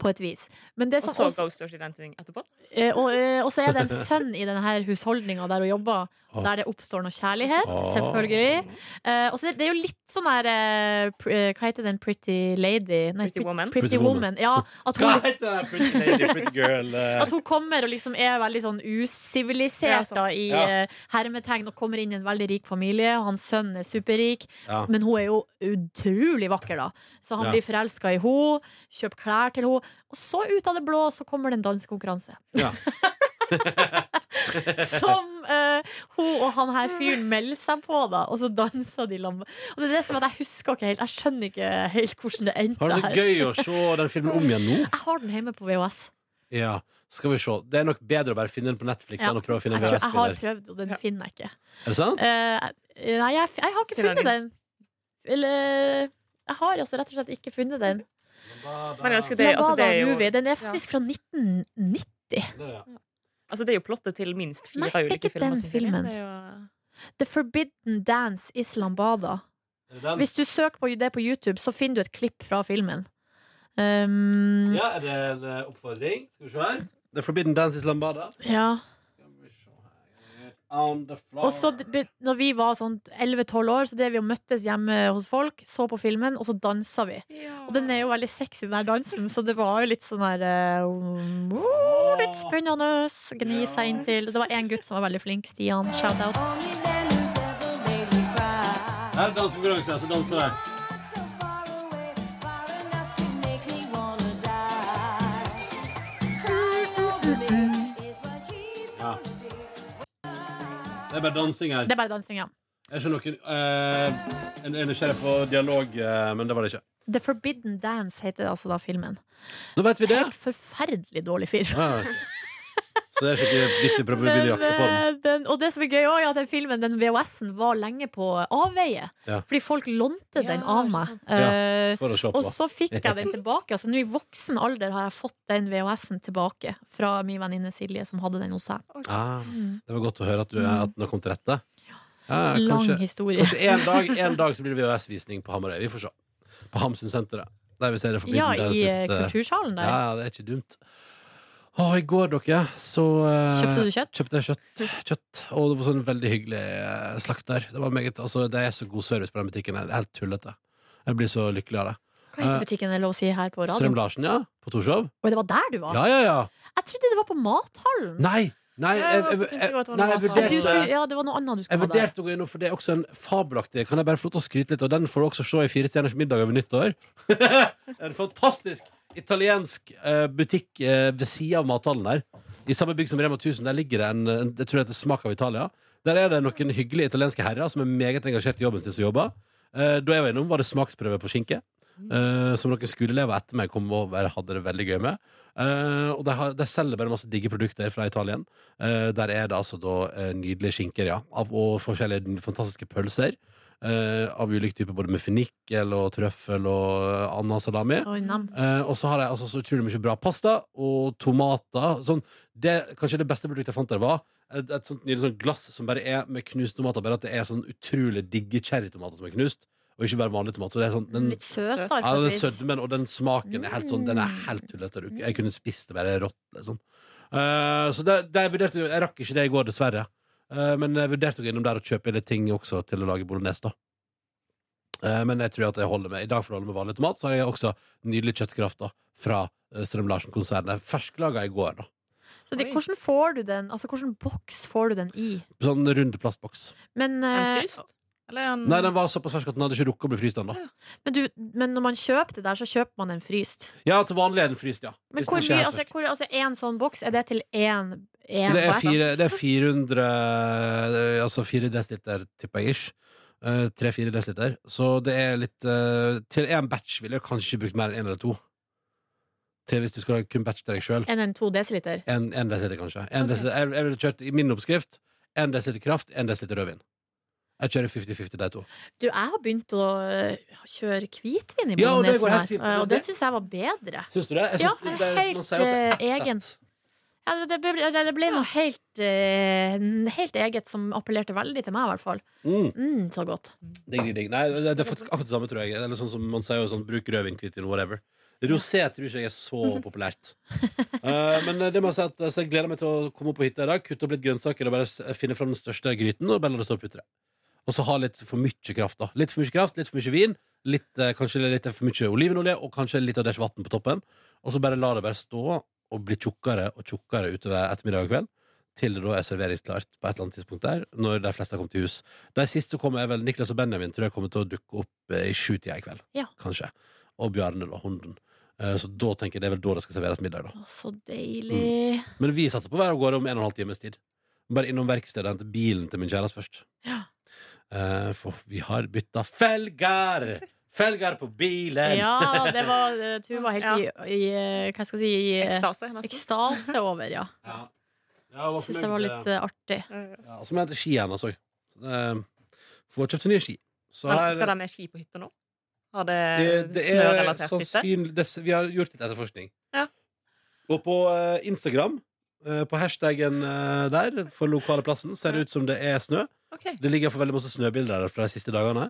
På et vis. Men det Og som så også, Ghost Dirty Dancing etterpå? eh, og, eh, og så er det en sønn i denne husholdninga der hun jobber, Å. der det oppstår noe kjærlighet. Ah. Selvfølgelig. Åh. Eh, og så det, det er jo litt sånn der eh, pr- eh, Hva heter den Pretty Lady? Nei, Pretty Woman? Pretty Pretty Woman. woman. Ja, at Hva hun, heter den pretty lady, pretty girl? eh? at hun kommer og liksom er veldig sånn Ja, usivilisert sant. da, i Ja. eh, hermetegn og kommer inn i en veldig rik familie. og Hans sønn er superrik, Ja. men hun er jo utrolig vakker, da. Så han Ah. Ja. blir forelska i henne, kjøper klær til henne. Og så ut av det blå så kommer det en dansekonkurranse. Ja. Som eh, hun og han her fyren melder seg på, da. Og så danser de sammen. Og det er det som er at jeg husker ikke helt Jeg skjønner ikke helt hvordan det endte Har det så her. gøy å se den filmen om igjen nå? Jeg har den hjemme på VHS. Ja, skal vi se. Det er nok bedre å bare finne den på Netflix Ja. enn å prøve å finne en Jeg, tror, jeg har VHS-spiller. prøvd, og den Ja. finner jeg ikke. Er det sant? Eh, nei, jeg, jeg har ikke Finner funnet den. den. Eller Jeg har altså rett og slett ikke funnet den. Men jeg elsker det, Den, altså, det er jo, movie, den er faktisk fra 1990. altså, det er jo plottet til minst fire Nei, det er ulike ikke filmer. den selvfølgelig. filmen. Det er jo- The Forbidden Dance Islam Bada. Er Hvis du søker på det på YouTube, så finner du et klipp fra filmen. Um, ja. Ja, er det en eh, oppfordring? Skal vi se her. The Forbidden Dance is Lambada. Skal vi se her. On the floor. Og så d- be- når vi var sånn 11-12 år, så drev vi og møttes hjemme hos folk, så på filmen, og så dansa vi. Og den er jo veldig sexy, den der dansen, så det var jo litt sånn her eh, oh, Litt spennende. Gni seg inntil. Det var én gutt som var veldig flink. Stian. Shout-out. Her er dansekonkurranse, så danser de. Ja. Det er bare dansing her. Det er bare dansing, ja. Jeg skjønner noen eh, En er nysgjerrig på dialog, eh, men det var det ikke. The Forbidden Dance heter altså da filmen. Da vet vi det. Helt forferdelig dårlig film. Ja. Ah, Så det er ikke vits i å prøve å begynne å jakte på den. eh, den, og det som er gøy også, er at den filmen, den VHS-en, var lenge på avveie. Ja. Fordi folk lånte den Ja, av ikke meg. sant. Eh, For å se og på. så fikk jeg den tilbake. Altså, Nå i voksen alder har jeg fått den VHS-en tilbake fra min venninne Silje, som hadde den hos seg. Ah, Mm. det var godt å høre at, du, at den har kommet til rette. Ja, Lang kanskje, historie. kanskje en dag En dag så blir det VHS-visning på Hamarøy. Vi får se. På Hamsunsenteret. Der vi ser det Ja, Forbidden i eh, Dances, eh, kultursalen Ja, der. ja, det er ikke dumt. Å, I går, dere, så eh, Kjøpte du kjøtt? Kjøpte jeg kjøtt, kjøtt. Og det var sånn veldig hyggelig eh, slakter. Det, var meget, altså, det er så god service på den butikken. her. Det er helt tullete. Jeg blir så lykkelig av det. Hva heter butikken det er lov å si her på radioen? Strøm-Larsen, ja? På Torshov? Oi, det var der du var? Ja, ja, ja. Jeg trodde det var på mathallen. Nei! Nei, Ja, jeg, jeg jeg, tenkte jeg, godt det var nei, jeg Men noe annet. du vurderte skulle, ja, det var noe annet du jeg skulle ha der. vurderte å gå innom, for det er også en fabelaktig Kan jeg bare få lov til å skryte litt av den? Får du også se i Fire stjerners middag over nyttår. en fantastisk italiensk eh, butikk eh, ved sida av mathallen der. I samme bygg som Rema 1000. Der ligger det en, en jeg tror det heter Smak av Italia. Der er det noen hyggelige italienske herrer som er meget engasjert i jobben sin som jobber. Eh, da jeg var innom, var det smaksprøve på skinke. eh, som noen skoleelever etter meg kom over og hadde det veldig gøy med. Eh, og de, har, de selger bare masse digge produkter fra Italien. Eh, der er det altså da eh, nydelige skinker, ja. Av, og forskjellige n- fantastiske pølser. eh, av ulike typer, både med fennikel og trøffel og eh, annen salami. Oi, nam. Eh, og så har jeg altså så utrolig mye bra pasta og tomater. Sånn, det, kanskje det beste produktet jeg fant der, var et, et sånt nydelig sånt glass som bare er med knust tomater. Bare at det er sånn utrolig digge cherrytomater som er knust, og ikke bare vanlige tomater. Så det er sånn, den, Litt søt, Søt. da. ja, på den et vis. sødmen og den smaken er helt sånn Den Mm. er helt tullete. Du- Jeg kunne spist det bare rått, liksom. Eh, så det, det jeg vurderte jeg rakk ikke det i går, dessverre. Eh, men jeg vurderte å gå innom der og kjøpe litt ting også til å lage bolognese, da. Eh, Men jeg tror at jeg holder med. I dag får det holde med vanlig tomat. Så har jeg også nydelig kjøttkraft da, fra eh, Strøm-Larsen-konsernet. Fersklaga i går, da. Så de, Oi. hvordan får du den? Altså, hvordan boks får du den i? Sånn rund plastboks. Men, En eh, fryst? Eller en Nei, den var såpass fersk at den hadde ikke rukket å bli fryst ennå. men, du, men når man kjøper det der, så kjøper man en fryst. Ja, til vanlig er den fryst, ja. Men Hvis den hvor ikke er mye, helt altså, fersk. hvor, altså en sånn boks, er det til én én det, er bæsj? fire, det er 400 eh, Altså 4 desiliter, tipper jeg ish. Eh, Tre-fire desiliter. Så det er litt eh, Til én batch ville jeg kanskje brukt mer enn én eller to. Til hvis du skal kun batche til deg sjøl. En enn to desiliter? En, en desiliter, kanskje. En Ok. desiliter, jeg, jeg ville kjørt i min oppskrift en desiliter kraft, en desiliter rødvin. Jeg kjører 50-50 de to. Du, jeg har begynt å øh, kjøre hvitvin i Ja, og det bolognesen går helt her, fint. øh, og det Det- syns jeg var bedre. Syns du det? Jeg Ja, syns det- det er det- man sier jo at det er helt, eh, fett. egen. Ja, det, ble, det ble noe helt, øh, n- helt eget som appellerte veldig til meg, i hvert fall. Mm. Mm, så godt. Digg, digg, digg. Nei, det, det er faktisk akkurat det samme, tror jeg. Eller sånn som man sier jo sånn, bruk rødvin, hvitvin, whatever. Rosé tror ikke jeg er så populært. Eh, men det må jeg si at altså, jeg gleder meg til å komme opp på hytta i dag, kutte opp litt grønnsaker og bare s- eh, finne fram den største gryten og bare la det stå og putre. Og så ha litt for mye kraft, da. Litt for mye kraft, litt for mye vin, litt, eh, kanskje litt for mye olivenolje og kanskje litt av det vann på toppen. Og så bare la det bare stå og bli tjukkere og tjukkere utover ettermiddag og kveld. Til det da er serveringsklart på et eller annet tidspunkt der, når de fleste har kommet i hus. De siste kommer er vel Niklas og Benjamin tror jeg kommer til å dukke opp eh, i sjutida i kveld. Ja. Kanskje. Og Bjarne og hunden. Eh, Så da tenker jeg det er vel da det skal serveres middag. da Å, så deilig. Men vi satser på å være av gårde om en og en halv times tid. Bare innom verkstedet og hente bilen til min kjæreste først. Ja. Eh, For vi har bytta felger! Felger på bilen! Ja, det var øh, Tuva var helt i, i øh, Hva skal jeg si i, øh, ekstase, nesten. ekstase over, ja. ja. Ja, hun var Syns fornøyd jeg var med- litt øh, artig. Eh, ja, Og så må jeg altså. hente ski hennes òg. Eh, Får kjøpt seg nye ski. Så Men her- skal de med ski på hytta nå? Har det, Det, det er sånn snørelatert hytte? sannsynlig det, Vi har gjort litt etterforskning. Ja. Og på eh, Instagram, eh, på hashtagen eh, der, for lokale plassen, ser det ut som det er snø. Ok, Det ligger for veldig masse snøbilder der fra de siste dagene.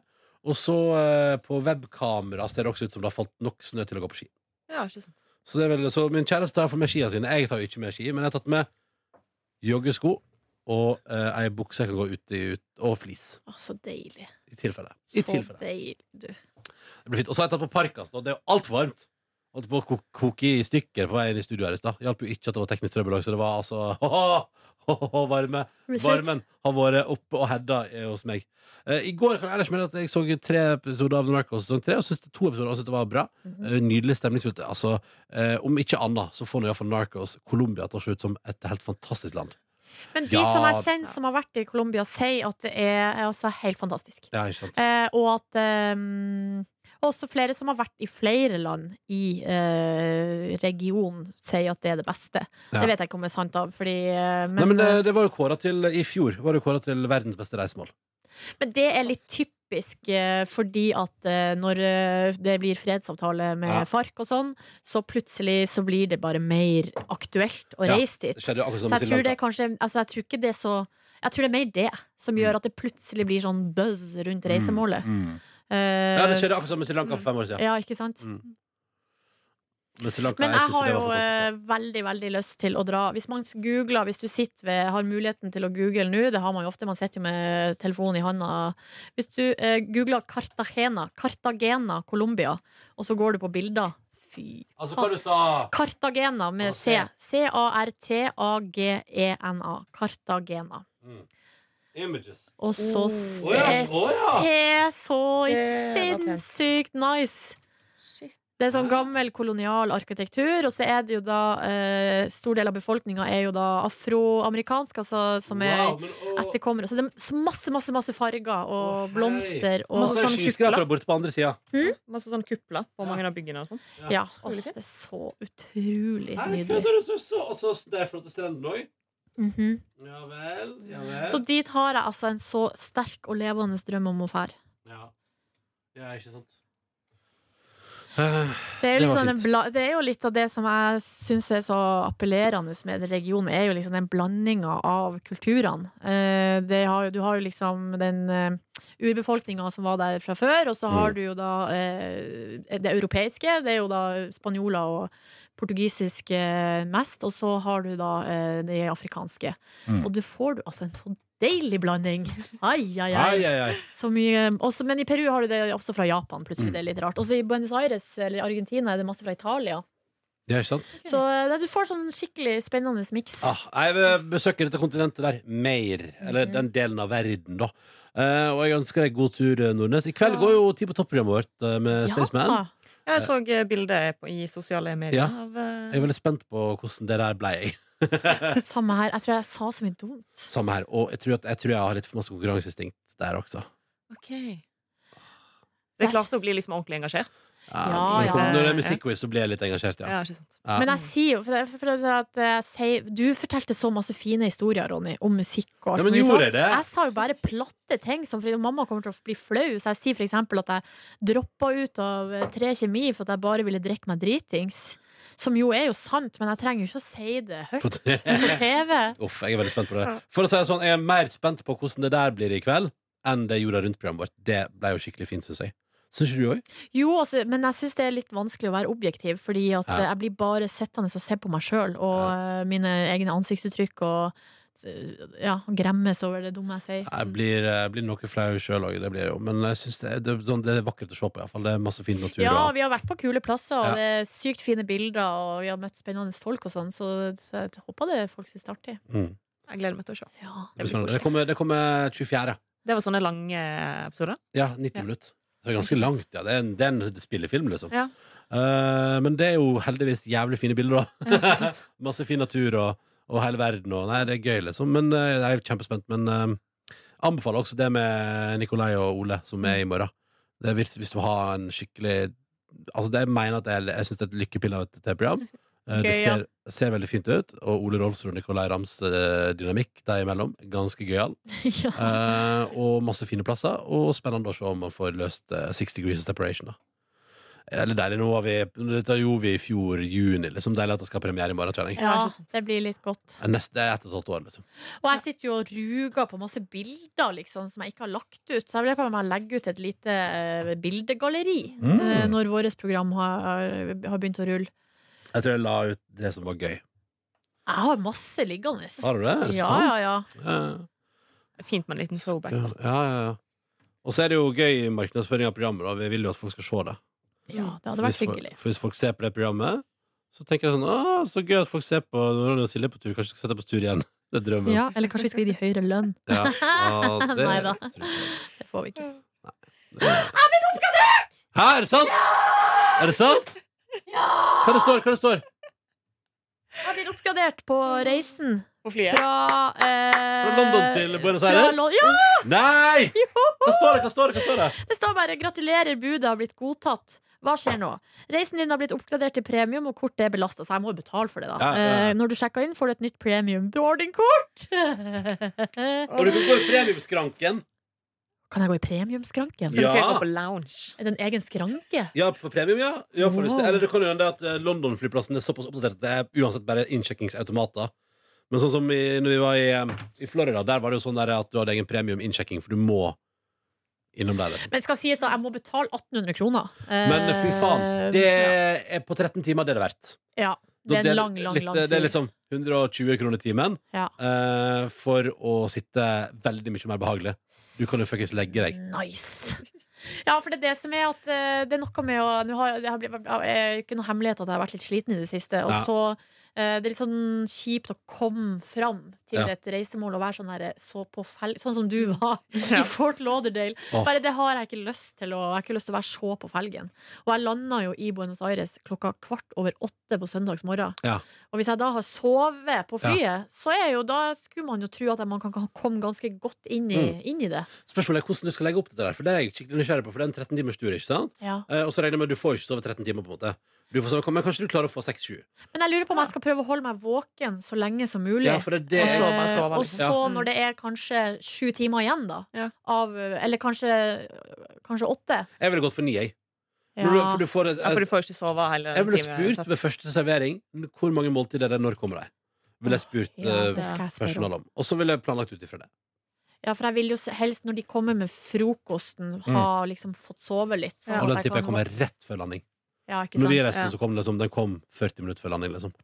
Og så eh, på webkamera ser det også ut som det har falt nok snø til å gå på ski. ja, ikke sant. Så, det er vel, så min kjæreste tar for meg skia sine. Jeg tar jo ikke med ski, men jeg har tatt med joggesko og eh, ei bukse jeg kan gå ut i, ut, og flis. Å, så deilig. I tilfelle. I Så tilfelle. deilig, du. Det blir fint. Og så har jeg tatt på parkas nå. Det er jo altfor varmt. Holdt på å ko- koke i stykker på veien i studio her i stad. Hjalp jo ikke at det var teknisk trøbbel òg, så det var altså Håhå, varme. Blir det søt? Varmen har vært oppe og hedda eh, hos meg. Eh, I går kan jeg ellers melde at jeg så tre episoder av Narcos sesong tre, og syntes det- to episoder og syntes det var bra. Mhm. Eh, Nydelig stemningsfullt. Altså, eh, om ikke annet, så får nå iallfall Narcos Colombia til å se ut som et helt fantastisk land. Men de Ja, som jeg kjenner som har vært i Colombia, sier at det er, er altså helt fantastisk. Ja, ikke sant? Eh, og at eh, også flere som har vært i flere land i eh, regionen, sier at det er det beste. Ja. Det vet jeg ikke om det er sant, da. Fordi, eh, men, Nei, men eh, det, det var jo kåra til I fjor var det kåra til verdens beste reisemål. Men det er litt typisk eh, fordi at eh, når eh, det blir fredsavtale med Ja. FARC og sånn, så plutselig så blir det bare mer aktuelt å Ja, reise dit. Det skjedde jo akkurat Så som i jeg Sri tror Lanka. det er kanskje altså Jeg tror ikke det er så Jeg tror det er mer det som gjør at det plutselig blir sånn buzz rundt reisemålet. Mm, mm. Eh, Ja, det skjedde akkurat som med Sri Lanka for fem år siden. ja, ikke sant? Mm. Men Sri Lanka, Men jeg, jeg synes har det jo var eh, fantastisk. veldig veldig lyst til å dra. Hvis man googler, hvis du sitter ved, har muligheten til å google nå, det har man jo ofte, man sitter jo med telefonen i handa Hvis du eh, googler Cartagena, Cartagena, Colombia, og så går du på bilder Fy Altså, hva hva du sa Cartagena med Og C. C. C-a-r-t-a-g-e-n-a. E Cartagena. Images. Og så Oh. s- Å ja, eh, å ja. Se så Det var pent. sinnssykt nice! Shit. Det er sånn Ah. gammel kolonial arkitektur, og så er det jo da eh, Stor del av befolkninga er jo da afroamerikansk, altså som er men, etterkommere. Så det er så masse, masse masse farger og Å, hei. blomster og Masse Masse sånn skyskrapere borte på andre sida. Masse sånn kupler Ja. på mange av byggene og sånn. Ja. Åh, det er så utrolig nydelig. du så så? Og så der flotte strendene òg. Mhm. Ja vel, ja vel. Så dit har jeg altså en så sterk og levende drøm om å fære. ja. ja, ikke sant. Eh, Det Det er, jo var liksom en fint. bla det er jo litt av det som jeg syns er så appellerende med den regionen, er jo liksom den blandinga av kulturene. Eh, det har, jo- du har jo liksom den eh, urbefolkninga som var der fra før. Og så Mm. har du jo da eh, det europeiske. Det er jo da spanjoler og portugisisk eh, mest. Og så har du da eh, det afrikanske. Mm. Og du får du altså en sånn deilig blanding. Ai, ai, ai. Ai, ai, ai. Så mye, også, men i Peru har du det også fra Japan, plutselig. Mm. Det er litt rart. Også i Buenos Aires eller Argentina er det masse fra Italia. Ja, ikke sant? Så eh, du får sånn skikkelig spennende miks. Ah, jeg vil besøke dette kontinentet der mer. Eller Mhm. den delen av verden, da. Eh, og jeg ønsker deg god tur, eh, Nordnes. I kveld Ja. går jo Tid på topp-programmet vårt eh, med Staysman. Ja, jeg så eh, bildet på- i sosiale medier Ja. av eh, Jeg er veldig spent på hvordan det der ble. Jeg. Samme her. Jeg tror jeg sa så mye dumt. Samme her. Og jeg tror, at, jeg tror jeg har litt for masse konkurranseinstinkt der også. Ok. Det er klart å bli liksom ordentlig engasjert. Ja, Ja, når, det kommer- ja. når det er musikkquiz, så blir jeg litt engasjert, ja. Ja, ikke sant. Ja. Men jeg sier jo for det, for det, er sånn at jeg sier, Du fortalte så masse fine historier, Ronny, om musikk og Ja, men mulig gjorde sånt. jeg det? Jeg sa jo bare platte ting, som fordi mamma kommer til å bli flau. Så jeg sier for eksempel at jeg droppa ut av eh, tre kjemi for at jeg bare ville drikke meg dritings. Som jo er jo sant, men jeg trenger jo ikke å si det høyt På t- på TV. Uff, jeg er veldig spent på det. For å si det sånn, Jeg er mer spent på hvordan det der blir i kveld, enn det jorda rundt-programmet vårt. Det ble jo skikkelig fint, syns jeg. Syns ikke du òg? Jo, altså, men jeg syns det er litt vanskelig å være objektiv, fordi at Ja. eh, jeg blir bare sittende og se på meg sjøl og eh, mine egne ansiktsuttrykk og eh, ja, gremmes over det dumme jeg sier. Jeg blir, eh, jeg blir noe flau sjøl òg, det blir jeg jo. Men jeg synes det, er- det, er sånn, det er vakkert å se på, iallfall. Det er masse fin natur. Ja, og- vi har vært på kule plasser, og Ja. det er sykt fine bilder, og vi har møtt spennende folk og sånn, så så jeg håper det folk syns det er artig. mm. Jeg gleder meg til å se. Ja. det, blir blir spennende. koselig. det, kommer, det kommer 24. Det var sånne lange episoder. Ja, 90 Ja. minutter. Det er ganske Ikke sant? langt, ja. Det er en, det er en spillefilm, liksom. Ja. Eh, men det er jo heldigvis jævlig fine bilder, da. Ja, ikke sant? Masse fin natur og, og hele verden og Nei, det er gøy, liksom. Men eh, jeg er kjempespent. Men eh, anbefaler også det med Nikolai og Ole, som Mm. er i morgen. Det er hvis, hvis du har en skikkelig Altså, det jeg mener at jeg, jeg syns det er et lykkepille av et TV-program. Eh, det Gøy, ja. ser, ser veldig fint ut. Og Ole Rolfsrud og Nikolai Rams eh, dynamikk der imellom. Ganske gøyal. ja. Eh, og masse fine plasser, og spennende å se om man får løst eh, Six Degrees of Separation. da Eller deilig, nå var vi Dette gjorde vi i fjor juni. Liksom Deilig at det skal ha premiere i morgen. kjenner jeg. ja, ikke sant. det blir litt godt. Eh, neste- Det er ett og et halvt år, liksom. Og jeg sitter jo og ruger på masse bilder liksom, som jeg ikke har lagt ut. Så jeg vil bare legge ut et lite eh, bildegalleri Mm. eh, når vårt program har, eh, har begynt å rulle. Jeg tror jeg la ut det som var gøy. Jeg har masse liggende. Har du det? Er det Ja, sant? ja, ja. Ja. Fint med en liten throwback. Ja, da. ja, ja. Og så er det jo gøy i markedsføring av programmet. Da. Vi vil jo at folk skal se det. ja det hadde vært hvis, hyggelig. folk- for hvis folk ser på det programmet, så tenker jeg sånn Å, så gøy at folk ser på når Ronny og Silje er på tur. Kanskje vi skal sette på tur igjen. Det er drømmen. Ja, eller kanskje vi skal gi de høyere lønn. Ja. Ja, det, Neida. tror jeg ikke. Det får vi ikke. Jeg er blitt oppgradert! Hæ, er det sant? Er det sant? Hva det står? Hva det står? Jeg har blitt oppgradert på reisen. På flyet. Fra, eh, Fra London til Buenos fra Aires? Lon- ja, Nei! Hva står det? Hva står det? Hva står det? det står bare 'Gratulerer, budet har blitt godtatt'. Hva skjer nå? Reisen din har blitt oppgradert til premium, og kortet er belasta, så jeg må jo betale for det, da. Ja, ja, ja. Eh, når du sjekker inn, får du et nytt premium boardingkort. Og du kan gå i premiumskranken. kan jeg gå i premiumskranken? Skal vi se Ja. gå på lounge? Er det en egen skranke? Ja, for premium, ja. ja for hvis det, Wow. eller det kan jo hende at eh, London-flyplassen er såpass oppdatert at det er uansett bare innsjekkingsautomater. Men sånn som i, når vi var i, eh, i Florida, der var det jo sånn der at du hadde egen premium-innsjekking, for du må innom der. Liksom. Men skal sies at jeg må betale 1800 kroner. Eh, Men eh, fy faen, det er på 13 timer det er det verdt. Ja. Det er Da en lang, lang, litt, lang Det er tur. liksom 120 kroner timen Ja. eh, for å sitte veldig mye mer behagelig. Du kan jo fuckings legge deg. Nice. Ja, for det er det som er at eh, det er noe med å Nå har jeg, det har blitt, jeg er jo ikke noe hemmelighet at jeg har vært litt sliten i det siste. Og Ja. så eh, Det er litt sånn kjipt å komme fram til Ja. et reisemål og være sånn, her, så på fel, sånn som du var i Ja. Fort Lauderdale. Åh. Bare det har jeg ikke lyst til. Å, jeg har ikke lyst til å være så på felgen. Og jeg landa jo i Buenos Aires klokka kvart over åtte på søndags morgen. Ja. Og hvis jeg da har sovet på flyet, så er jo, da skulle man jo tro at man kan komme ganske godt inn i, Mm. inn i det. Spørsmålet er hvordan du skal legge opp dette der, for det er jeg skikkelig nysgjerrig på, for det er en 13 timers tur, ikke sant? Ja. Eh, og så regner jeg med at du får ikke sove 13 timer, på en måte. Du får sove, men kanskje du klarer å få 6-7? Men jeg lurer på om jeg skal prøve å holde meg våken så lenge som mulig. Ja, for det er det Og så- Eh, Sove, sove, og liksom. så Ja. når det er kanskje sju timer igjen, da. Ja. Av, eller kanskje, kanskje åtte. Jeg ville gått for 9, jeg. Ja. Når du- For du får et, Ja, for du får jo ikke sove hele jeg ville timen, spurt sant? ved første servering hvor mange måltider er det, når kommer de? Ville jeg spurt Ja, eh, det skal jeg spørre om. personalet om. Og så ville jeg planlagt ut ifra det. Ja, for jeg vil jo s- helst når de kommer med frokosten, ha liksom fått sove litt. sånn Ja. Mm. at Og den jeg tipper jeg kan- kommer rett før landing. Ja, ikke Når vi sant? reiste, Ja. så kom den liksom, den kom 40 minutter før landing. Liksom.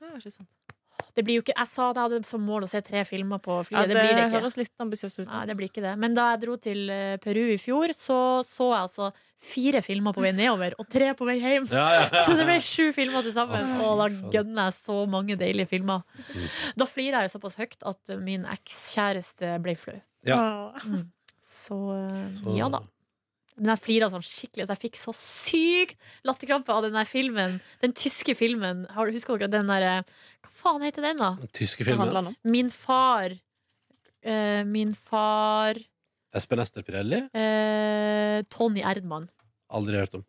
Ja, ikke sant. Det blir jo ikke, jeg sa at jeg hadde som mål å se tre filmer på Ja, flyet. det, det, blir det ikke. høres litt ambisiøst ut. Nei, altså. det blir ikke det. Men da jeg dro til eh, Peru i fjor, så så jeg altså fire filmer på vei nedover og tre på vei hjem. Ja, Så det ble sju filmer til sammen, Å, fy og da faen. gønner jeg så mange deilige filmer. Da flirer jeg jo såpass høyt at min ekskjæreste ble flau. Ja. Så, eh, Så- ja da. Men jeg flira sånn skikkelig, så jeg fikk så syk latterkrampe av den der filmen. Den tyske filmen. Har du- Husker dere den derre Hva faen heter den, da? Den tyske Hva filmen. handler det om? Min far. eh, min far Espen Ester Pirelli. Eh, Tony Erdmann. Aldri hørt om.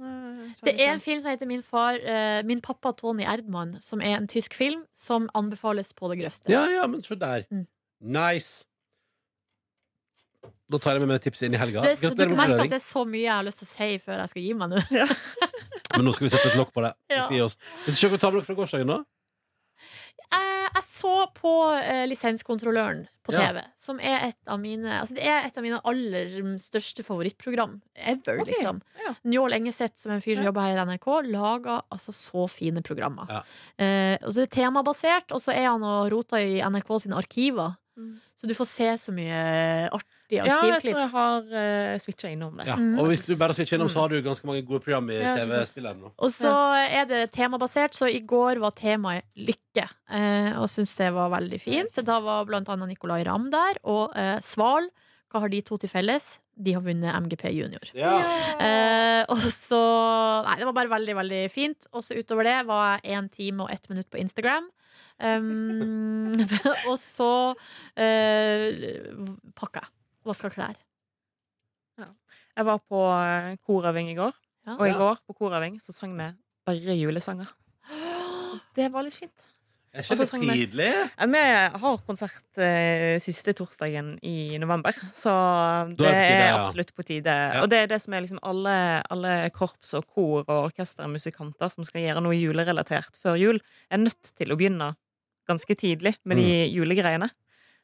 Nei, jeg Det er en skjønner ikke. film som heter Min, far, eh, Min pappa Tony Erdmann, som er en tysk film som anbefales på det grøvste. Ja, ja, men se der. Mm. Nice. Da tar jeg med meg det tipset inn i helga. Det, du Gratulerer med merker at oppløring. det er så mye jeg har lyst til å si før jeg skal gi meg nå. Men nå skal vi sette et lokk på det. Vi skal Ja. gi oss. Hvis du ikke tar med dere fra gårsdagen, da? Eh, jeg så på eh, Lisenskontrolløren på Ja. TV, som er et av mine altså Det er et av mine aller mm, største favorittprogram ever, Ok, liksom. ja. Njål Engeseth, som er en fyr som Ja. jobber her i NRK, lager altså så fine programmer. Ja. Eh, og så er det temabasert, og så er han og roter i NRK sine arkiver. Mm. Så du får se så mye artige Ja, jeg arkivklipp. tror jeg har uh, switcha innom det. Ja. Mm. Og hvis du bare switcher innom, så har du ganske mange gode program i Ja, ikke sant. TV-spilleren nå. Og så er det temabasert, så i går var temaet lykke. Eh, og syns det var veldig fint. Da var blant annet Nicolay Ramm der, og eh, Sval. Hva har de to til felles? De har vunnet MGP Junior. Eh, og så Nei, det var bare veldig, veldig fint. Og så utover det var jeg én time og ett minutt på Instagram. Um, og så eh, pakka jeg. Vaska klær. Jeg var på eh, korøving i går, Ja. og i går på korøving så sang vi bare julesanger. Det var litt fint. Er Og ikke så det sang vi. tidlig? Eh, Vi har konsert eh, siste torsdagen i november, så Da er det det på tide, er ja. absolutt på tide. Ja. Og det er det som er liksom alle, alle korps og kor og orkester og musikanter som skal gjøre noe julerelatert før jul, er nødt til å begynne ganske tidlig med de Mm. julegreiene.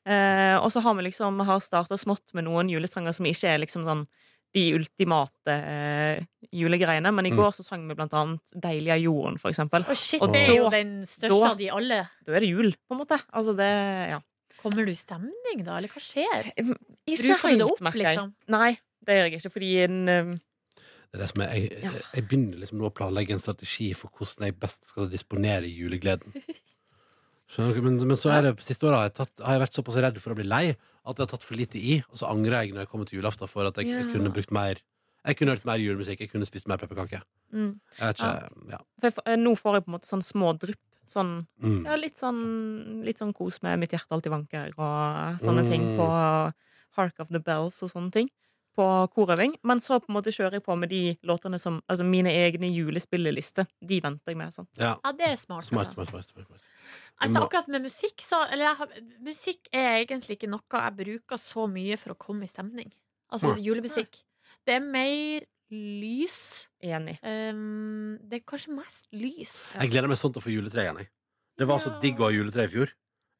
Eh, og så har vi liksom har starta smått med noen julesanger som ikke er liksom sånn de ultimate eh, julegreiene, men i Mm. går så sang vi blant annet 'Deilig av jorden', for eksempel. Og shit, Og det er jo da- den største da- av de alle. Da er det jul, på en måte. Altså det Ja. Kommer du i stemning, da? Eller hva skjer? Ikke Bruker du det opp, merker jeg. liksom? Nei, det gjør jeg ikke, fordi en, um, Det er det som er, jeg, Ja. jeg, jeg begynner liksom nå å planlegge en strategi for hvordan jeg best skal disponere julegleden. Skjønner dere? Men, men så er det, siste året har jeg, tatt, har jeg vært såpass redd for å bli lei at jeg har tatt for lite i, og så angrer jeg når jeg kommer til julaften for at jeg, jeg Ja. kunne brukt mer Jeg kunne hørt mer julemusikk, jeg kunne spist mer pepperkaker. Jeg vet ikke Ja. mm. for jeg, f- eh, Nå får jeg på en måte sånn små drypp. Sånn, Mm. ja, litt, sånn, litt sånn kos med Mitt hjerte alltid vanker og sånne Mm. ting på Hark of the Bells og sånne ting. På korøving. Men så på en måte kjører jeg på med de låtene som Altså mine egne julespillelister. De venter jeg med. Sånn. ja. Ja, det er smart. Smart, da. smart, smart. smart, smart. Altså, må- akkurat med musikk, så Eller jeg, har- musikk er egentlig ikke noe jeg bruker så mye for å komme i stemning. Altså Nei. julemusikk. Det er mer lys. Enig. Um, det er kanskje mest lys. Jeg gleder meg sånn til å få juletre igjen. Jeg. Det var så Ja. digg å ha juletre i fjor.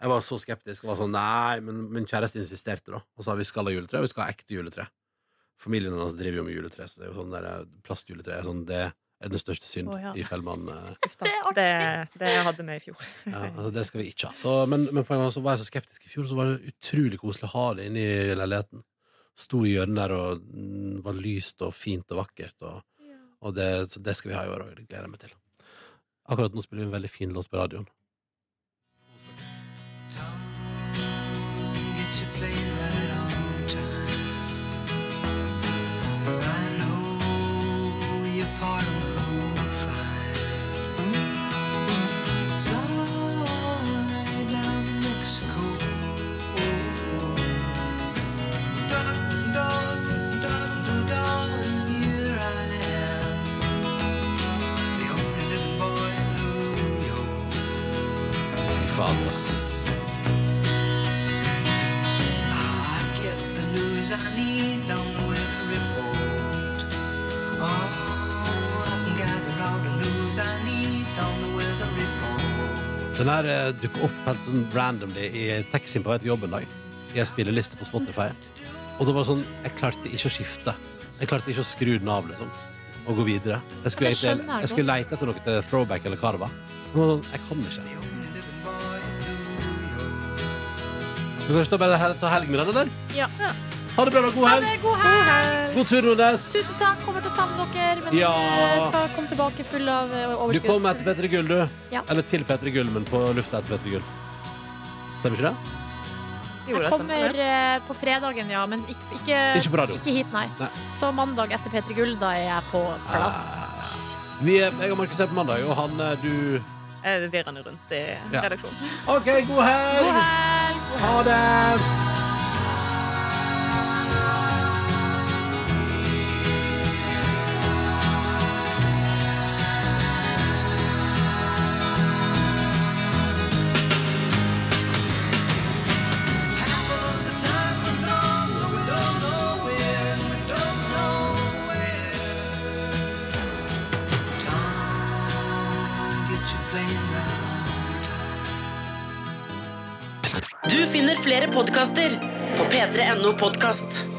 Jeg var så skeptisk og var sånn Nei, men min kjæreste insisterte, da. Og sa vi skal ha juletre, og vi skal ha ekte juletre. Familien hans driver jo med juletre, så det er jo sånn der eh, plastjuletre er sånn, Det er den største synd Å, ja. i Fellmann. eh, Uff da. Det er Det, artig. det hadde vi i fjor. Ja, altså, det skal vi ikke ha. Så, men, men poenget var så var jeg så skeptisk i fjor, så var det utrolig koselig å ha det inne i leiligheten. Sto i hjørnet der, og mm, var lyst og fint og vakkert. Og, og det, så det skal vi ha i år òg. Det gleder jeg meg til. Akkurat nå spiller vi en veldig fin låt på radioen. Fy faen, ass. I get the news I need along with a report. Oh, I can gather all the news I need on the weather report. Den her eh, dukker opp helt sånn randomly i taxien på vei til jobb en dag. i en spilleliste på Spotify. Og det var sånn, jeg klarte ikke å skifte. Jeg klarte ikke å skru den av, liksom. Og gå videre. Jeg skulle, Det skjønner egentlig, jeg jeg skulle leite etter noe til throwback eller hva det var. Men det var sånn, jeg kan ikke. Skal vi først da bare he- ta helg med den, eller? Ja. ja. Ha det bra, da. God helg. det, god helg! God tur, Nordnes. Tusen takk. Kommer til å savne dere, men Ja. eh, skal komme tilbake full av eh, Du overskudd. kom etter P3 Gull, du. Ja. Eller til P3 Gull, men på lufta etter P3 Gull. Stemmer ikke det? Jo, Jeg det er sant, kommer det. eh, på fredagen, ja, men ikke, ikke, Ikke på radio. ikke hit, nei. Nei. Så mandag etter P3 Gull, da er jeg på plass. Ah. Vi er, jeg og Markus er på mandag, og han er du Eh, Det virrer nå rundt i Ja. redaksjonen. OK, god helg! God helg! Ha det! Du finner flere podkaster på p3.no podkast.